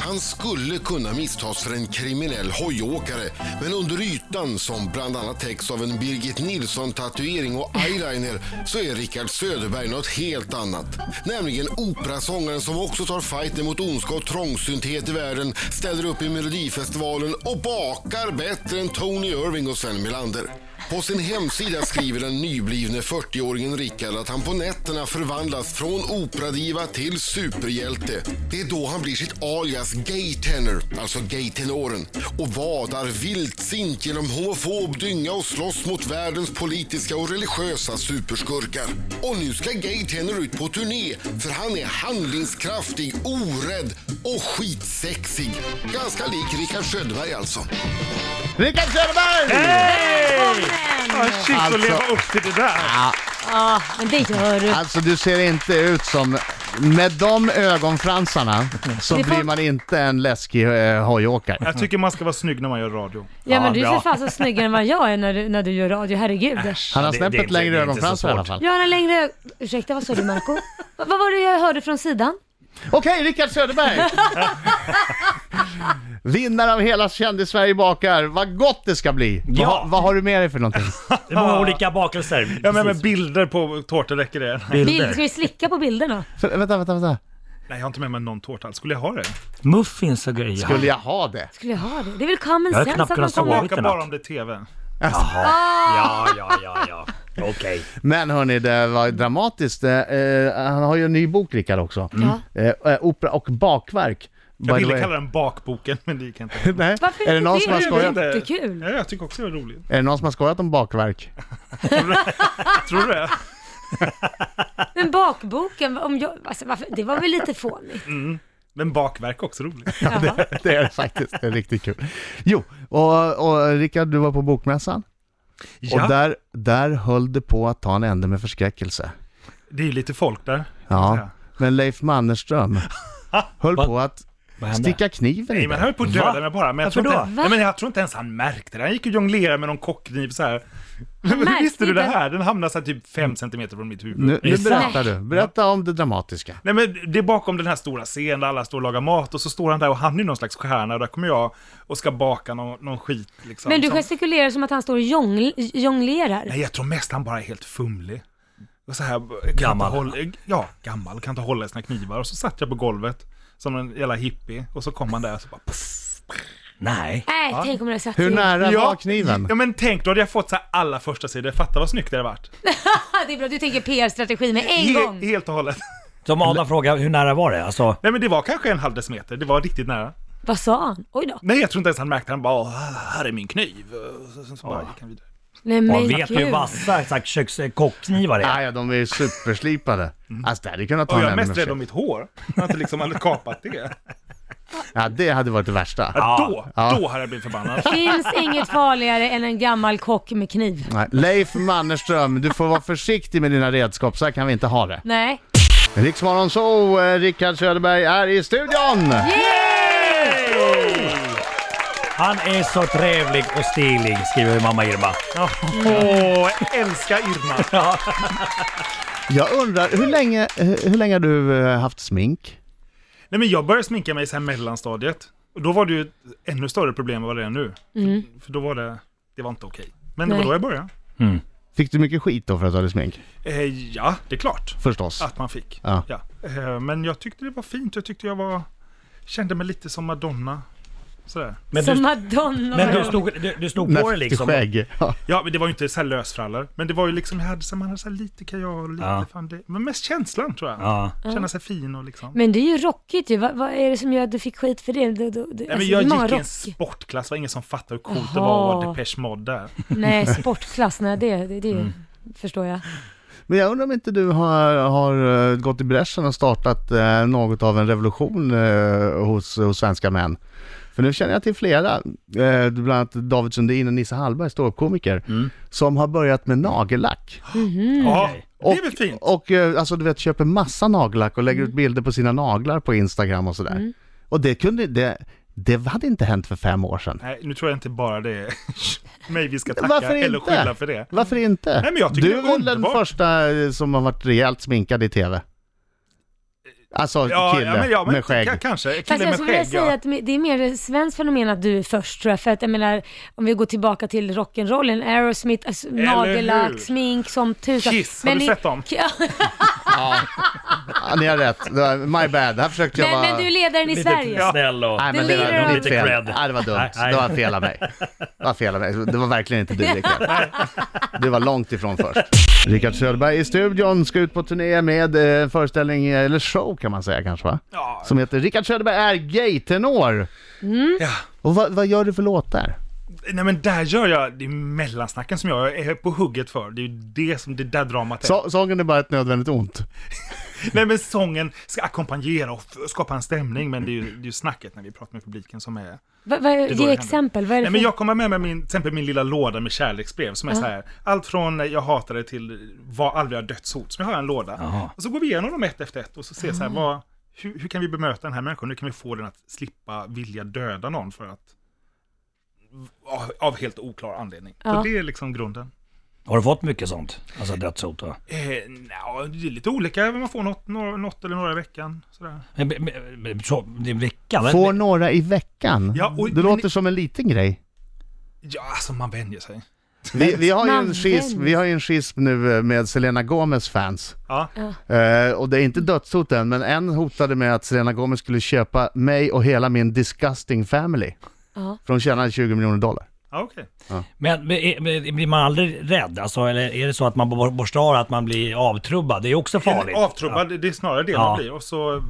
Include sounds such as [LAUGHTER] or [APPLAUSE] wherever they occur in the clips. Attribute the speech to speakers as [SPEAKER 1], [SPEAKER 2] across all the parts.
[SPEAKER 1] Han skulle kunna misstas för en kriminell hojåkare, men under ytan som bland annat täcks av en Birgit Nilsson-tatuering och eyeliner så är Rickard Söderberg något helt annat. Nämligen operasångaren som också tar fighten mot ondska och trångsynthet i världen, ställer upp i Melodifestivalen och bakar bättre än Tony Irving och Sven Melander. På sin hemsida skriver den nyblivne 40-åringen Rickard att han på nätterna förvandlas från operadiva till superhjälte. Det är då han blir sitt alias Gaytenor, alltså gaytenoren, och vadar vildsint genom homofob dynga och slåss mot världens politiska och religiösa superskurkar. Och nu ska Gaytenor ut på turné, för han är handlingskraftig, orädd och skitsexig. Ganska lik Rickard Söderberg alltså.
[SPEAKER 2] Rickard Söderberg!
[SPEAKER 3] Ah, shit,
[SPEAKER 2] Alltså-
[SPEAKER 3] att leva upp till det där.
[SPEAKER 4] Ja, men det gör du.
[SPEAKER 2] Alltså du ser inte ut som... Med de ögonfransarna så
[SPEAKER 4] Det får-
[SPEAKER 2] blir man inte en läskig eh, hojåkare.
[SPEAKER 3] Jag tycker man ska vara snygg när man gör radio.
[SPEAKER 4] Ja, men
[SPEAKER 2] ja,
[SPEAKER 4] du är
[SPEAKER 2] bra.
[SPEAKER 4] för fan så snyggare än vad jag är när du, när du gör radio, herregud.
[SPEAKER 2] Han har
[SPEAKER 5] det- det är
[SPEAKER 2] snäppet
[SPEAKER 5] inte-
[SPEAKER 2] längre
[SPEAKER 5] det är inte så
[SPEAKER 2] ögonfransar i alla
[SPEAKER 5] svårt.
[SPEAKER 2] fall.
[SPEAKER 4] Jag har en längre... ö- Ursäkta, vad sa du Marco? Va- Vad var det jag hörde från sidan?
[SPEAKER 2] Okej, Rickard
[SPEAKER 5] [LAUGHS]
[SPEAKER 2] Söderberg! Vinnare av hela Kändis-Sverige bakar. Vad gott det ska bli! Vad,
[SPEAKER 5] Ja.
[SPEAKER 2] ha- vad har du med dig för någonting?
[SPEAKER 5] Det är många olika bakelser.
[SPEAKER 3] Ja, men, men
[SPEAKER 5] Precis.
[SPEAKER 3] bilder på tårtor räcker det?
[SPEAKER 4] Bild, ska
[SPEAKER 5] Bilder.
[SPEAKER 4] vi slicka på bilderna?
[SPEAKER 2] För, vänta, vänta, vänta.
[SPEAKER 3] Nej, jag har inte med mig någon tårta alls. Skulle jag ha det?
[SPEAKER 5] Muffins och grejer.
[SPEAKER 2] Skulle jag ha det?
[SPEAKER 4] Skulle jag ha det? Det är väl common
[SPEAKER 5] Jag har
[SPEAKER 4] sense
[SPEAKER 5] knappt
[SPEAKER 4] att man
[SPEAKER 5] kunnat
[SPEAKER 4] kommer...
[SPEAKER 3] Baka
[SPEAKER 5] sova. inte
[SPEAKER 3] bara
[SPEAKER 5] något.
[SPEAKER 3] om det är TV.
[SPEAKER 5] Ja, ja, ja, ja. Okej.
[SPEAKER 2] Men hörni, det var ju dramatiskt. Eh, eh, han har ju en ny bok, Rickard, också. Eh, eh, opera och bakverk. By
[SPEAKER 3] Jag
[SPEAKER 2] the
[SPEAKER 3] ville
[SPEAKER 2] way.
[SPEAKER 3] kalla den bakboken, men det gick inte.
[SPEAKER 2] Nej.
[SPEAKER 4] Varför
[SPEAKER 2] Är det
[SPEAKER 4] inte
[SPEAKER 2] någon
[SPEAKER 4] det?
[SPEAKER 2] som har
[SPEAKER 4] Det är
[SPEAKER 2] skojat?
[SPEAKER 4] väl jättekul.
[SPEAKER 3] Ja, jag tycker också det var roligt.
[SPEAKER 2] Är det någon som har skojat om bakverk? [LAUGHS]
[SPEAKER 3] Tror du det?
[SPEAKER 4] Men bakboken, om jag... Alltså, varför? Det var väl lite fånigt?
[SPEAKER 3] Men bakverk är också roligt.
[SPEAKER 2] [LAUGHS] Ja, det, det är det faktiskt. Det är riktigt kul. Jo, och, och Rickard, du var på bokmässan. Och där, där höll det på att ta en ände med förskräckelse.
[SPEAKER 3] Det är ju lite folk där.
[SPEAKER 2] Ja, men Leif
[SPEAKER 3] [LAUGHS]
[SPEAKER 2] Mannerström höll
[SPEAKER 5] Vad-
[SPEAKER 2] på att
[SPEAKER 5] Vad hände?
[SPEAKER 2] sticka kniven i
[SPEAKER 3] Nej, men han
[SPEAKER 2] dig.
[SPEAKER 3] höll på att döda
[SPEAKER 5] Va?
[SPEAKER 3] mig bara. Men jag,
[SPEAKER 5] Varför
[SPEAKER 3] tror
[SPEAKER 5] då?
[SPEAKER 3] inte, nej, men jag tror inte ens han märkte det. Han gick och jonglerade med någon kockkniv så här.
[SPEAKER 4] märkte
[SPEAKER 3] [LAUGHS] Visste du det
[SPEAKER 4] inte.
[SPEAKER 3] här? Den hamnade så här typ fem centimeter från mitt huvud.
[SPEAKER 2] Nu, nu
[SPEAKER 5] Är det sant?
[SPEAKER 2] berättar du. Berätta om det dramatiska.
[SPEAKER 3] Nej men det är bakom den här stora scenen där alla står och lagar mat och så står han där och han är någon slags stjärna och där kommer jag och ska baka någon, någon skit liksom.
[SPEAKER 4] Men du
[SPEAKER 3] som...
[SPEAKER 4] gestikulerar som att han står och jongl- jonglerar.
[SPEAKER 3] Nej jag tror mest han bara är helt fumlig. Och så här, kan
[SPEAKER 5] Gammal.
[SPEAKER 3] Inte hålla, ja, gammal. Kan inte hålla i sina knivar. Och så satt jag på golvet som en jävla hippie och så kom han där och så bara puff.
[SPEAKER 5] Nej.
[SPEAKER 4] Nej, tänk om det hade satt
[SPEAKER 2] Hur
[SPEAKER 4] sig.
[SPEAKER 2] nära var kniven?
[SPEAKER 3] Ja men tänk då hade jag fått så här alla första sidor. Fatta vad snyggt det hade varit.
[SPEAKER 4] Ah, Det är bra, du tänker PR-strategi med en
[SPEAKER 3] He-
[SPEAKER 4] gång.
[SPEAKER 3] Helt och hållet. [LAUGHS]
[SPEAKER 5] Som Adam frågade, hur nära var det? Alltså,
[SPEAKER 3] Nej men det var kanske en halv decimeter. Det var riktigt nära.
[SPEAKER 4] Vad sa han? Oj då.
[SPEAKER 3] Nej jag tror inte ens han märkte. Han bara "Åh, här är min kniv. Och så, så, så bara gick han vidare.
[SPEAKER 4] Nej
[SPEAKER 5] man
[SPEAKER 4] men
[SPEAKER 5] vet ju hur vassa exakt köks- eh, kockknivar är.
[SPEAKER 2] Ah, ja, de är ju superslipade. Alltså det hade kunnat ta
[SPEAKER 3] Mm. Och
[SPEAKER 2] en
[SPEAKER 3] jag
[SPEAKER 2] ände
[SPEAKER 3] är
[SPEAKER 2] med
[SPEAKER 3] mest rädd
[SPEAKER 2] förskräckelse.
[SPEAKER 3] om mitt hår. Jag har inte liksom hade kapat det.
[SPEAKER 2] Ja, det hade varit det värsta.
[SPEAKER 3] Ja, då,
[SPEAKER 2] Ja.
[SPEAKER 3] då hade jag blivit förbannad.
[SPEAKER 4] Finns inget farligare än en gammal kock med kniv.
[SPEAKER 2] Nej. Leif Mannerström, du får vara försiktig med dina redskap, så här kan vi inte ha det.
[SPEAKER 4] Nej.
[SPEAKER 2] Riksmorgon så, eh, Rickard Söderberg är i studion!
[SPEAKER 5] Han är så trevlig och stilig, skriver mamma Irma.
[SPEAKER 3] Åh, jag älskar Irma.
[SPEAKER 2] Jag undrar, hur länge, hur, hur länge har du eh, haft smink?
[SPEAKER 3] Nej, men jag började sminka mig i så här mellanstadiet. Och då var det ju ett ännu större problem än vad det är nu. För, för då var det, det var inte okej. Men det
[SPEAKER 4] Nej.
[SPEAKER 3] var då jag började.
[SPEAKER 2] Fick du mycket skit då för att du hade smink?
[SPEAKER 3] Eh, ja, det är klart
[SPEAKER 2] Förstås.
[SPEAKER 3] att man fick.
[SPEAKER 2] Ja.
[SPEAKER 3] Eh, men jag tyckte det var fint. Jag tyckte jag var, kände mig lite som Madonna. Sådär.
[SPEAKER 5] Men
[SPEAKER 4] Som
[SPEAKER 5] du,
[SPEAKER 4] Madonna.
[SPEAKER 5] men du stod, du, du stod på det liksom.
[SPEAKER 2] skägg. [LAUGHS] Ja.
[SPEAKER 3] Ja, men det var ju inte så här lösfrallor. Men det var ju liksom, jag hade så här, man hade så här lite kajal, lite
[SPEAKER 5] Ja.
[SPEAKER 3] fan det. Men mest känslan tror jag.
[SPEAKER 5] Ja.
[SPEAKER 3] Känna sig fin och liksom.
[SPEAKER 4] Men det är ju rockigt ju. Vad, vad är det som gör att du fick skit för det? Du, du, du,
[SPEAKER 3] Nej,
[SPEAKER 4] alltså,
[SPEAKER 3] men
[SPEAKER 4] det är
[SPEAKER 3] jag
[SPEAKER 4] många
[SPEAKER 3] gick i en
[SPEAKER 4] rock.
[SPEAKER 3] sportklass, det var ingen som fattade hur coolt det
[SPEAKER 4] Jaha.
[SPEAKER 3] var att vara Depeche Mode där. [LAUGHS]
[SPEAKER 4] Nej, sportklass. Nej, det, det, det
[SPEAKER 3] Mm.
[SPEAKER 4] förstår jag.
[SPEAKER 2] Men jag undrar om inte du har, har eh, gått i bräschen och startat eh, något av en revolution eh, hos, hos svenska män? För nu känner jag till flera, eh, bland annat David Sundin och Nisse Hallberg, ståuppkomiker, som har börjat med nagellack.
[SPEAKER 4] Mm.
[SPEAKER 3] Ja,
[SPEAKER 2] Och,
[SPEAKER 3] det är väl fint?
[SPEAKER 2] och eh, alltså du vet, köper massa nagellack och lägger
[SPEAKER 4] Mm.
[SPEAKER 2] ut bilder på sina naglar på Instagram och sådär. Och det kunde, det, det hade inte hänt för fem år sedan.
[SPEAKER 3] Nej, nu tror jag inte bara det är [LAUGHS] mig vi ska tacka
[SPEAKER 2] Varför
[SPEAKER 3] eller
[SPEAKER 2] inte?
[SPEAKER 3] skylla för det.
[SPEAKER 2] Varför inte?
[SPEAKER 3] Nej, men jag tycker
[SPEAKER 2] du
[SPEAKER 3] det
[SPEAKER 2] är
[SPEAKER 3] är
[SPEAKER 2] väl den
[SPEAKER 3] underbart.
[SPEAKER 2] första eh, som har varit rejält sminkad i TV? Alltså
[SPEAKER 3] Ja,
[SPEAKER 2] kille
[SPEAKER 3] ja, men, ja, men,
[SPEAKER 2] med skägg.
[SPEAKER 3] ka- Kanske. Kille
[SPEAKER 4] Fast jag
[SPEAKER 3] med
[SPEAKER 4] skulle vilja
[SPEAKER 3] skägg,
[SPEAKER 4] säga
[SPEAKER 3] ja.
[SPEAKER 4] att det är mer ett svenskt fenomen att du är först tror jag. För att jag menar, om vi går tillbaka till rock'n'rollen, Aerosmith, alltså,
[SPEAKER 3] Eller hur?
[SPEAKER 4] nagellack, smink som tusan.
[SPEAKER 3] Kiss, har du
[SPEAKER 4] i-
[SPEAKER 3] sett dem?
[SPEAKER 4] [LAUGHS] Ja,
[SPEAKER 2] Ja, ni har rätt. Det var- My bad. Här försökte jag
[SPEAKER 4] men,
[SPEAKER 2] vara...
[SPEAKER 4] men du är ledaren i Sverige.
[SPEAKER 5] Lite snäll och...
[SPEAKER 2] Nej, men
[SPEAKER 4] The
[SPEAKER 2] det,
[SPEAKER 4] leader
[SPEAKER 2] var,
[SPEAKER 4] of-
[SPEAKER 2] lite
[SPEAKER 5] Lite
[SPEAKER 2] fel.
[SPEAKER 5] cred.
[SPEAKER 2] Nej, det var dumt.
[SPEAKER 5] Nej, nej.
[SPEAKER 2] Det var fel av mig. Det var fel av mig. Det var verkligen inte du,
[SPEAKER 5] [LAUGHS]
[SPEAKER 2] Rickard. Du var långt ifrån först. Rickard Söderberg i studion ska ut på turné med eh, en föreställning, eh, eller show kan man säga kanske va?
[SPEAKER 3] Ja.
[SPEAKER 2] Som heter Rickard Söderberg är gay-tenor.
[SPEAKER 3] Ja.
[SPEAKER 2] Och vad, vad gör du för låtar?
[SPEAKER 3] Nej men där gör jag, det är mellansnacken som jag är på hugget för. Det är ju det som det där dramat är.
[SPEAKER 2] Så, sången är bara ett nödvändigt ont.
[SPEAKER 3] Nej men sången ska ackompanjera och f- skapa en stämning, men det är ju, det är ju snacket när vi pratar med publiken som är...
[SPEAKER 4] Va, va,
[SPEAKER 3] går
[SPEAKER 4] ge
[SPEAKER 3] i
[SPEAKER 4] exempel, vad är det
[SPEAKER 3] Nej
[SPEAKER 4] för...
[SPEAKER 3] men jag kommer med mig min, till exempel min lilla låda med kärleksbrev som är så här. Allt från eh, jag hatar dig till vad aldrig har dödshot. Så jag har en låda. Och så går vi igenom dem ett efter ett och så ser så här, vad, hur, hur kan vi bemöta den här människan? Hur kan vi få den att slippa vilja döda någon för att... Av, av helt oklar anledning.
[SPEAKER 4] Ja.
[SPEAKER 3] Så det är liksom grunden.
[SPEAKER 5] Har du fått mycket sånt? Alltså dödshot och...
[SPEAKER 3] Eh, nja, det är lite olika, man får något, nå- något eller några i veckan. Sådär.
[SPEAKER 5] Men- men- men- Så, det är en vecka? men-
[SPEAKER 2] Får några i veckan.
[SPEAKER 3] Ja, och-
[SPEAKER 2] det låter som en liten grej.
[SPEAKER 3] Ja, alltså man vänjer sig.
[SPEAKER 2] Vi, vi, har ju en
[SPEAKER 4] Man
[SPEAKER 2] schism, vi har ju en schism nu eh, med Selena Gomez fans.
[SPEAKER 3] Ja.
[SPEAKER 2] Eh, och det är inte dödshot än, men en hotade med att Selena Gomez skulle köpa mig och hela min disgusting family.
[SPEAKER 4] Ja.
[SPEAKER 2] För hon tjänade 20 miljoner dollar.
[SPEAKER 3] Ja, okej.
[SPEAKER 5] Men, men, är- men blir man aldrig rädd? Alltså, eller är det så att man bor- borstar av att man blir avtrubbad? Det är också farligt.
[SPEAKER 3] En Avtrubbad, det är snarare det
[SPEAKER 5] Ja.
[SPEAKER 3] man blir. Och så,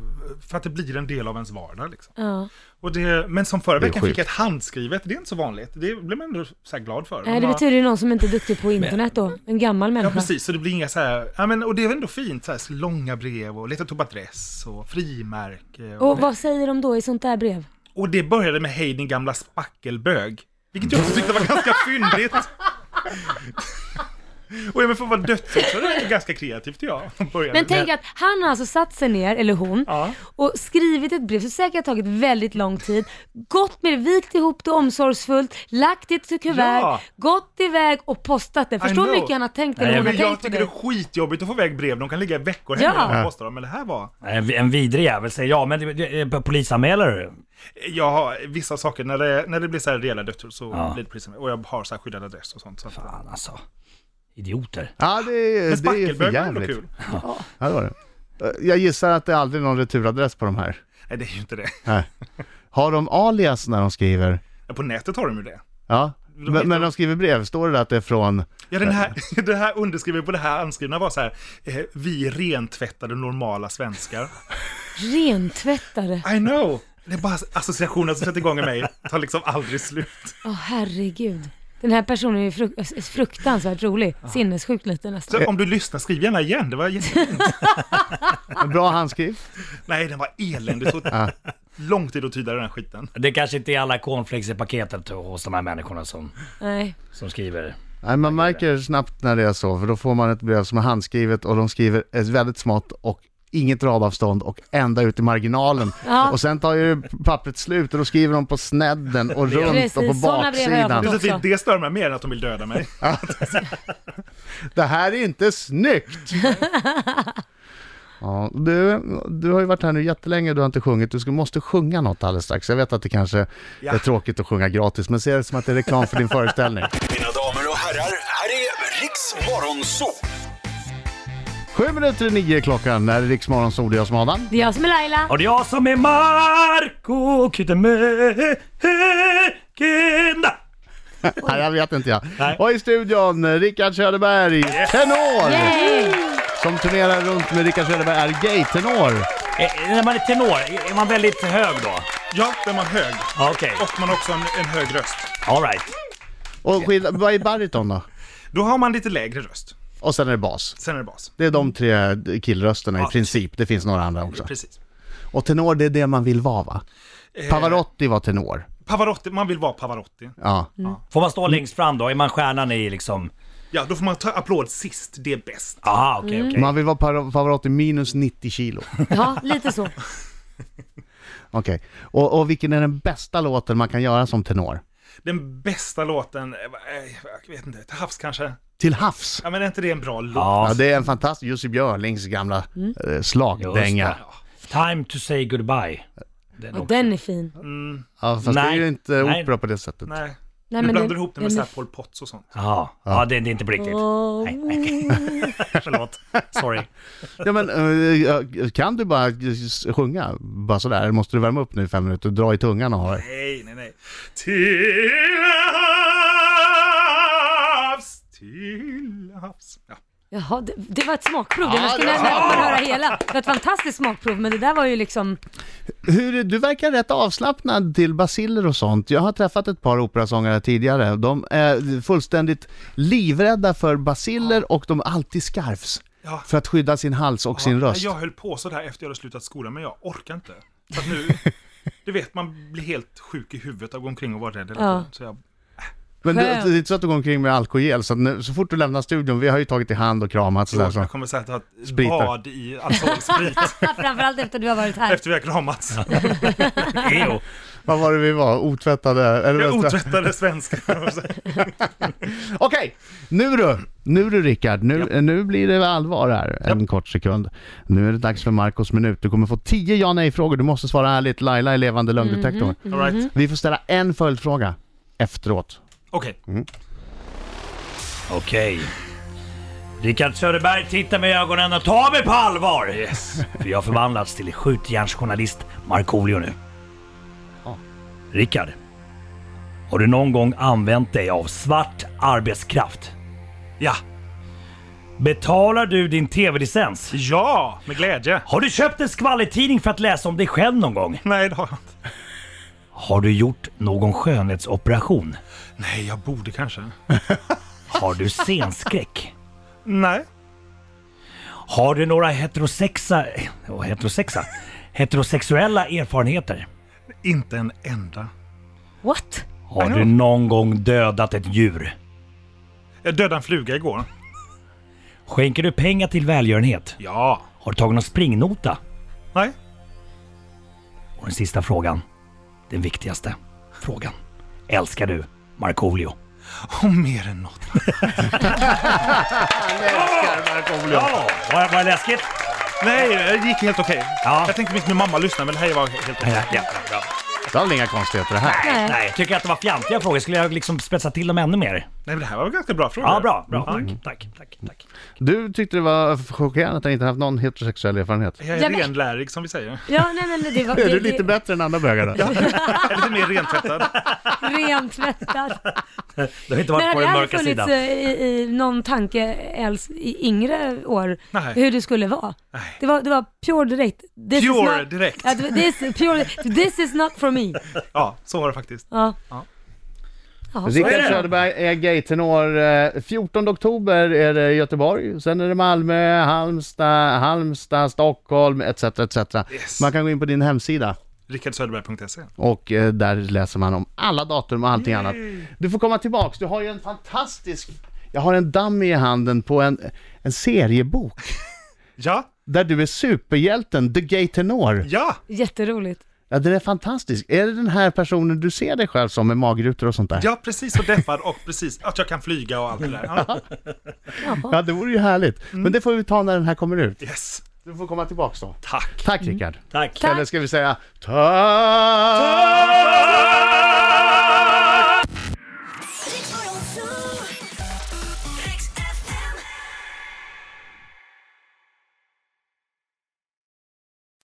[SPEAKER 3] för att det blir en del av ens vardag. Liksom.
[SPEAKER 4] Ja.
[SPEAKER 3] Och det, men som förra
[SPEAKER 2] Det är
[SPEAKER 3] veckan
[SPEAKER 2] sjukt.
[SPEAKER 3] fick jag ett handskrivet, det är inte så vanligt. Det blir man ändå så här glad för.
[SPEAKER 4] Nej,
[SPEAKER 3] Man
[SPEAKER 4] det
[SPEAKER 3] har-
[SPEAKER 4] betyder ju någon som inte är duktig på internet då. En gammal
[SPEAKER 3] Ja,
[SPEAKER 4] människa.
[SPEAKER 3] precis. Så det blir inga så här... Ja, men, och det är väl ändå fint, så här, så långa brev och lite adress och frimärke. Och,
[SPEAKER 4] Och vad säger de då i sånt där brev?
[SPEAKER 3] och det började med Hej din gamla spackelbög. Vilket jag också tyckte var ganska fyndigt. Och ja, men för att vara dödshot så är det ändå ganska kreativt, ja. att börja
[SPEAKER 4] Men
[SPEAKER 3] med.
[SPEAKER 4] tänk att han har alltså satt sig ner, eller hon,
[SPEAKER 3] Ja.
[SPEAKER 4] och skrivit ett brev som säkert har tagit väldigt lång tid, gått med det, vikt ihop det omsorgsfullt, lagt det till kuvert,
[SPEAKER 3] Ja.
[SPEAKER 4] gått iväg och postat det. Förstå hur
[SPEAKER 3] know.
[SPEAKER 4] mycket han har tänkt
[SPEAKER 5] Nej,
[SPEAKER 4] eller hon har
[SPEAKER 3] Men jag
[SPEAKER 4] tänkt på
[SPEAKER 3] tycker det är
[SPEAKER 4] det.
[SPEAKER 3] skitjobbigt att få iväg brev, de kan ligga i veckor
[SPEAKER 4] Ja.
[SPEAKER 3] hemma
[SPEAKER 2] Ja.
[SPEAKER 3] och posta dem. Men det här var...
[SPEAKER 5] En, en vidrig jävel säger jag, men det, det, det, polisanmäler du?
[SPEAKER 3] Jag har vissa saker, när det, när det blir så här rejäla dödshot så
[SPEAKER 5] Ja.
[SPEAKER 3] blir det precis som- Och jag har så här skyddad adress och sånt. Så att,
[SPEAKER 5] Fan alltså. Idioter.
[SPEAKER 2] Ja, det, är- det
[SPEAKER 3] men
[SPEAKER 2] är för
[SPEAKER 3] spackelbög var ändå
[SPEAKER 2] jävligt.
[SPEAKER 3] kul.
[SPEAKER 2] Ja, det var det. Eh, Jag gissar att det är aldrig någon returadress på de här.
[SPEAKER 3] Nej, det är ju inte det.
[SPEAKER 2] Nej. Har de alias när de skriver?
[SPEAKER 3] Ja, På nätet har de ju det.
[SPEAKER 2] Ja. Men, men de skriver brev, står det där att det är
[SPEAKER 3] [LAUGHS]
[SPEAKER 2] från...
[SPEAKER 3] Ja, den här, den här underskriven på det här anskrivna var så här, eh, vi rentvättade normala svenskar.
[SPEAKER 4] Rentvättare.
[SPEAKER 3] I know! Det är bara associationen som sätter igång i mig, tar liksom aldrig slut.
[SPEAKER 4] Åh herregud. Den här personen är ju fruk- eh, fruktansvärt rolig. Sinnessjukt lite nästan.
[SPEAKER 3] Så om du lyssnar, skriv gärna igen, det
[SPEAKER 2] [LAUGHS]
[SPEAKER 3] var jätte...
[SPEAKER 2] En bra handskriv.
[SPEAKER 3] Nej, den var eländig, så lång tid att tyda den här skiten.
[SPEAKER 5] Det kanske inte är alla cornflakes i paketet hos de här människorna som,
[SPEAKER 4] Nej.
[SPEAKER 5] som skriver.
[SPEAKER 2] Nej, man märker snabbt när det är så, för då får man ett brev som är handskrivet och de skriver ett väldigt smått och inget radavstånd och ända ut i marginalen.
[SPEAKER 4] Ja.
[SPEAKER 2] Och sen tar ju pappret slut och då skriver de på snedden och runt
[SPEAKER 4] Precis,
[SPEAKER 2] och på
[SPEAKER 4] såna brev har jag
[SPEAKER 2] baksidan.
[SPEAKER 3] Det, är
[SPEAKER 4] fått.
[SPEAKER 3] så att det- det stör mig mer än att de vill döda mig.
[SPEAKER 2] Det här är inte snyggt! [LAUGHS] Ja, du, du har ju varit här nu jättelänge du har inte sjungit. Du ska, måste sjunga något alldeles strax. Jag vet att det kanske
[SPEAKER 3] Ja.
[SPEAKER 2] är tråkigt att sjunga gratis, men ser det som att det är
[SPEAKER 6] [LAUGHS]
[SPEAKER 2] reklam för din föreställning.
[SPEAKER 6] Mina damer och herrar, här är Riks Morgonzoo!
[SPEAKER 2] Sju minuter i nio är klockan. När det är Riksmorgon så är det jag som är Adam.
[SPEAKER 4] Det är jag som är Laila.
[SPEAKER 5] Och det är jag som är Marco Kyttemäkenda!
[SPEAKER 2] Nej, jag vet inte jag.
[SPEAKER 5] Nej.
[SPEAKER 2] Och i studion, eh, Rickard Söderberg, tenor!
[SPEAKER 4] Yay!
[SPEAKER 2] Som turnerar runt med Rickard Söderberg är gay-tenor.
[SPEAKER 5] Eh, När man är tenor, är man väldigt hög då?
[SPEAKER 3] Ja, den var hög.
[SPEAKER 5] Ja, Okej,
[SPEAKER 3] Och man har också en, en hög röst.
[SPEAKER 5] all right.
[SPEAKER 2] Och skil- vad är bariton då?
[SPEAKER 3] Då har man lite lägre röst.
[SPEAKER 2] Och sen är det bas.
[SPEAKER 3] Sen är det bas.
[SPEAKER 2] Det är de tre killrösterna i
[SPEAKER 3] Ja.
[SPEAKER 2] princip. Det finns några andra också.
[SPEAKER 3] Precis.
[SPEAKER 2] Och tenor, det är det man vill vara va?
[SPEAKER 5] Eh.
[SPEAKER 2] Pavarotti var tenor.
[SPEAKER 3] Pavarotti, man vill vara Pavarotti.
[SPEAKER 2] Ja.
[SPEAKER 5] Får man stå längst fram då? Är man stjärnan i liksom...
[SPEAKER 3] Ja, då får man ta applåd sist, det är bäst.
[SPEAKER 5] Aha, okej, okej.
[SPEAKER 2] Man vill vara Par- Pavarotti minus 90
[SPEAKER 5] [LAUGHS]
[SPEAKER 2] kilo.
[SPEAKER 4] Ja, lite så.
[SPEAKER 2] Okej. Och, och vilken är den bästa låten man kan göra som tenor?
[SPEAKER 3] Den bästa låten, eh, eh, jag vet inte, till havs kanske?
[SPEAKER 2] Till havs!
[SPEAKER 3] Ja, men är inte det en bra låt?
[SPEAKER 5] Ja,
[SPEAKER 2] Ja, det är en fantastisk Jussi Björlings gamla eh,
[SPEAKER 5] just det.
[SPEAKER 2] slagdänga.
[SPEAKER 5] Time to say goodbye. Den
[SPEAKER 4] Och
[SPEAKER 5] också.
[SPEAKER 4] den är fin.
[SPEAKER 2] Ja, fast det är ju
[SPEAKER 5] Nej.
[SPEAKER 2] inte
[SPEAKER 5] Nej.
[SPEAKER 2] opera på det sättet.
[SPEAKER 3] Nej,
[SPEAKER 4] Nej,
[SPEAKER 3] du
[SPEAKER 4] men
[SPEAKER 3] blandar
[SPEAKER 4] den-
[SPEAKER 3] ihop det med
[SPEAKER 4] den
[SPEAKER 3] så
[SPEAKER 4] är
[SPEAKER 3] här Pol Potts och sånt.
[SPEAKER 5] Jaha. Ja, det, det är inte på riktigt.
[SPEAKER 4] Åh.
[SPEAKER 5] Nej, nej. [LAUGHS] Förlåt. Sorry.
[SPEAKER 2] Ja, men, eh, kan du bara s- sjunga bara sådär? Eller Måste du värma upp nu i fem minuter och dra i tungan och ha det?
[SPEAKER 3] Nej, nej, nej. Till havs, till havs. Ja.
[SPEAKER 4] Jaha, det, det var ett smakprov.
[SPEAKER 2] Ja,
[SPEAKER 4] det måste
[SPEAKER 2] det
[SPEAKER 4] man,
[SPEAKER 2] var-
[SPEAKER 4] man höra hela. Det var ett fantastiskt smakprov, men det där var ju liksom...
[SPEAKER 2] Hur, du verkar rätt avslappnad till basiller och sånt. Jag har träffat ett par operasångare tidigare. De är fullständigt livrädda för basiller och de är alltid skarvs.
[SPEAKER 3] Ja.
[SPEAKER 2] För att skydda sin hals och sin
[SPEAKER 3] Ja,
[SPEAKER 2] röst.
[SPEAKER 3] Jag höll på sådär efter jag hade slutat skolan, men jag orkar inte. Så att [LAUGHS] nu, du vet, man blir helt sjuk i huvudet av att gå omkring och vara rädd hela
[SPEAKER 4] Ja.
[SPEAKER 3] tiden. Så jag,
[SPEAKER 2] Men du, det
[SPEAKER 4] Skönt.
[SPEAKER 2] är inte så att du går omkring med alkogel, så, att nu, så fort du lämnar studion, vi har ju tagit i hand och kramats och sådär. Så.
[SPEAKER 3] jag kommer säkert ha ett
[SPEAKER 2] Spritar.
[SPEAKER 3] bad i
[SPEAKER 4] [LAUGHS]
[SPEAKER 3] alkoholsprit
[SPEAKER 4] Framförallt efter du har varit här.
[SPEAKER 3] efter vi har kramats.
[SPEAKER 5] Ejo.
[SPEAKER 2] Vad var det vi var? Otvättade? Eller
[SPEAKER 3] Jag är
[SPEAKER 2] vänta.
[SPEAKER 3] otvättade [LAUGHS] svenskar.
[SPEAKER 2] Okej, nu du! Nu du Rickard, nu, nu blir det allvar här en kort sekund. Nu är det dags för Marcos minut. Du kommer få 10 ja nej-frågor. Du måste svara ärligt. Laila är levande lögndetektor.
[SPEAKER 3] All right.
[SPEAKER 2] Vi får ställa en följdfråga efteråt.
[SPEAKER 3] Okej.
[SPEAKER 5] Okej. Rickard Söderberg tittar mig i ögonen och tar mig på allvar! För jag har förvandlats till skjutjärnsjournalist Markoolio nu.
[SPEAKER 2] Ja.
[SPEAKER 5] Rickard. Har du någon gång använt dig av svart arbetskraft?
[SPEAKER 3] Ja.
[SPEAKER 5] Betalar du din TV-licens?
[SPEAKER 3] Ja, med glädje.
[SPEAKER 5] Har du köpt en skvallertidning för att läsa om dig själv någon gång?
[SPEAKER 3] Nej, det har jag inte.
[SPEAKER 5] Har du gjort någon skönhetsoperation?
[SPEAKER 3] Nej, jag borde kanske.
[SPEAKER 5] Har du scenskräck?
[SPEAKER 3] Nej.
[SPEAKER 5] Har du några heterosexa... oh, heterosexa? heterosexuella erfarenheter?
[SPEAKER 3] Inte en enda.
[SPEAKER 4] What?
[SPEAKER 5] Har
[SPEAKER 3] I know.
[SPEAKER 5] du någon gång dödat ett djur?
[SPEAKER 3] Jag dödade en fluga igår.
[SPEAKER 5] Skänker du pengar till välgörenhet?
[SPEAKER 3] Ja.
[SPEAKER 5] Har du tagit någon springnota?
[SPEAKER 3] Nej.
[SPEAKER 5] Och den sista frågan, den viktigaste frågan. Älskar du Markoolio?
[SPEAKER 3] Och mer än något.
[SPEAKER 5] Ja! Var, var det läskigt?
[SPEAKER 3] Nej, det gick helt okej.
[SPEAKER 5] Ja.
[SPEAKER 3] Jag tänkte att min mamma lyssnar, men det här var helt okej.
[SPEAKER 5] Ja, ja, ja.
[SPEAKER 2] Det var väl inga konstigheter det här?
[SPEAKER 4] Nej.
[SPEAKER 5] Nej, tycker jag att det var fjantiga frågor? Skulle jag liksom spetsa till dem ännu mer?
[SPEAKER 3] Nej, men det här var ganska bra frågor.
[SPEAKER 5] Ja, bra. bra.
[SPEAKER 4] Mm.
[SPEAKER 5] Tack, tack, tack, tack.
[SPEAKER 2] Du tyckte det var chockerande att han inte haft någon heterosexuell erfarenhet.
[SPEAKER 3] Jag är
[SPEAKER 4] Ja, men-
[SPEAKER 3] renlärig som vi säger.
[SPEAKER 4] Ja, nej men det var...
[SPEAKER 2] Är
[SPEAKER 4] det-
[SPEAKER 2] du lite
[SPEAKER 4] det-
[SPEAKER 2] bättre än andra bögar då?
[SPEAKER 3] Jag är lite mer rentvättad.
[SPEAKER 4] [LAUGHS] Rentvättad.
[SPEAKER 5] Du har inte
[SPEAKER 4] Men
[SPEAKER 5] varit på
[SPEAKER 4] hade det
[SPEAKER 5] den
[SPEAKER 4] aldrig
[SPEAKER 5] mörka
[SPEAKER 4] funnits
[SPEAKER 5] sidan.
[SPEAKER 4] eh, i, i någon tanke ens i yngre år
[SPEAKER 3] Nej.
[SPEAKER 4] hur du skulle vara?
[SPEAKER 3] Nej.
[SPEAKER 4] Det var, det var pure direkt. This is
[SPEAKER 3] Pure
[SPEAKER 4] not,
[SPEAKER 3] direkt.
[SPEAKER 4] Ja, det var- this, pure, this is not for me.
[SPEAKER 3] Ja, så var det faktiskt.
[SPEAKER 4] Ja.
[SPEAKER 3] Ja.
[SPEAKER 4] Ja, så är
[SPEAKER 2] Rickard
[SPEAKER 4] det.
[SPEAKER 2] Söderberg är gaytenor. Eh, 14 oktober är det Göteborg, sen är det Malmö, Halmstad, Halmstad Stockholm etc. etc.
[SPEAKER 3] Yes.
[SPEAKER 2] Man kan gå in på din hemsida
[SPEAKER 3] Rickardsöderberg.se.
[SPEAKER 2] och eh, där läser man om alla datum och allting
[SPEAKER 3] Mm.
[SPEAKER 2] annat. Du får komma tillbaks, du har ju en fantastisk... Jag har en dummy i handen på en, en seriebok
[SPEAKER 3] Ja,
[SPEAKER 2] där du är superhjälten, the gaytenor.
[SPEAKER 3] ja,
[SPEAKER 4] Jätteroligt.
[SPEAKER 2] Ja, den är fantastisk. Är det den här personen du ser dig själv som med magrutor och sånt där?
[SPEAKER 3] ja, precis så deppad och precis att jag kan flyga och allt det där. Ja.
[SPEAKER 2] Ja, det vore ju härligt.
[SPEAKER 3] Mm.
[SPEAKER 2] Men det får vi ta när den här kommer ut.
[SPEAKER 3] Yes,
[SPEAKER 2] Du får komma tillbaks då.
[SPEAKER 3] tack.
[SPEAKER 2] Tack Rickard.
[SPEAKER 5] Tack.
[SPEAKER 4] Tack.
[SPEAKER 2] Eller ska vi säga tack!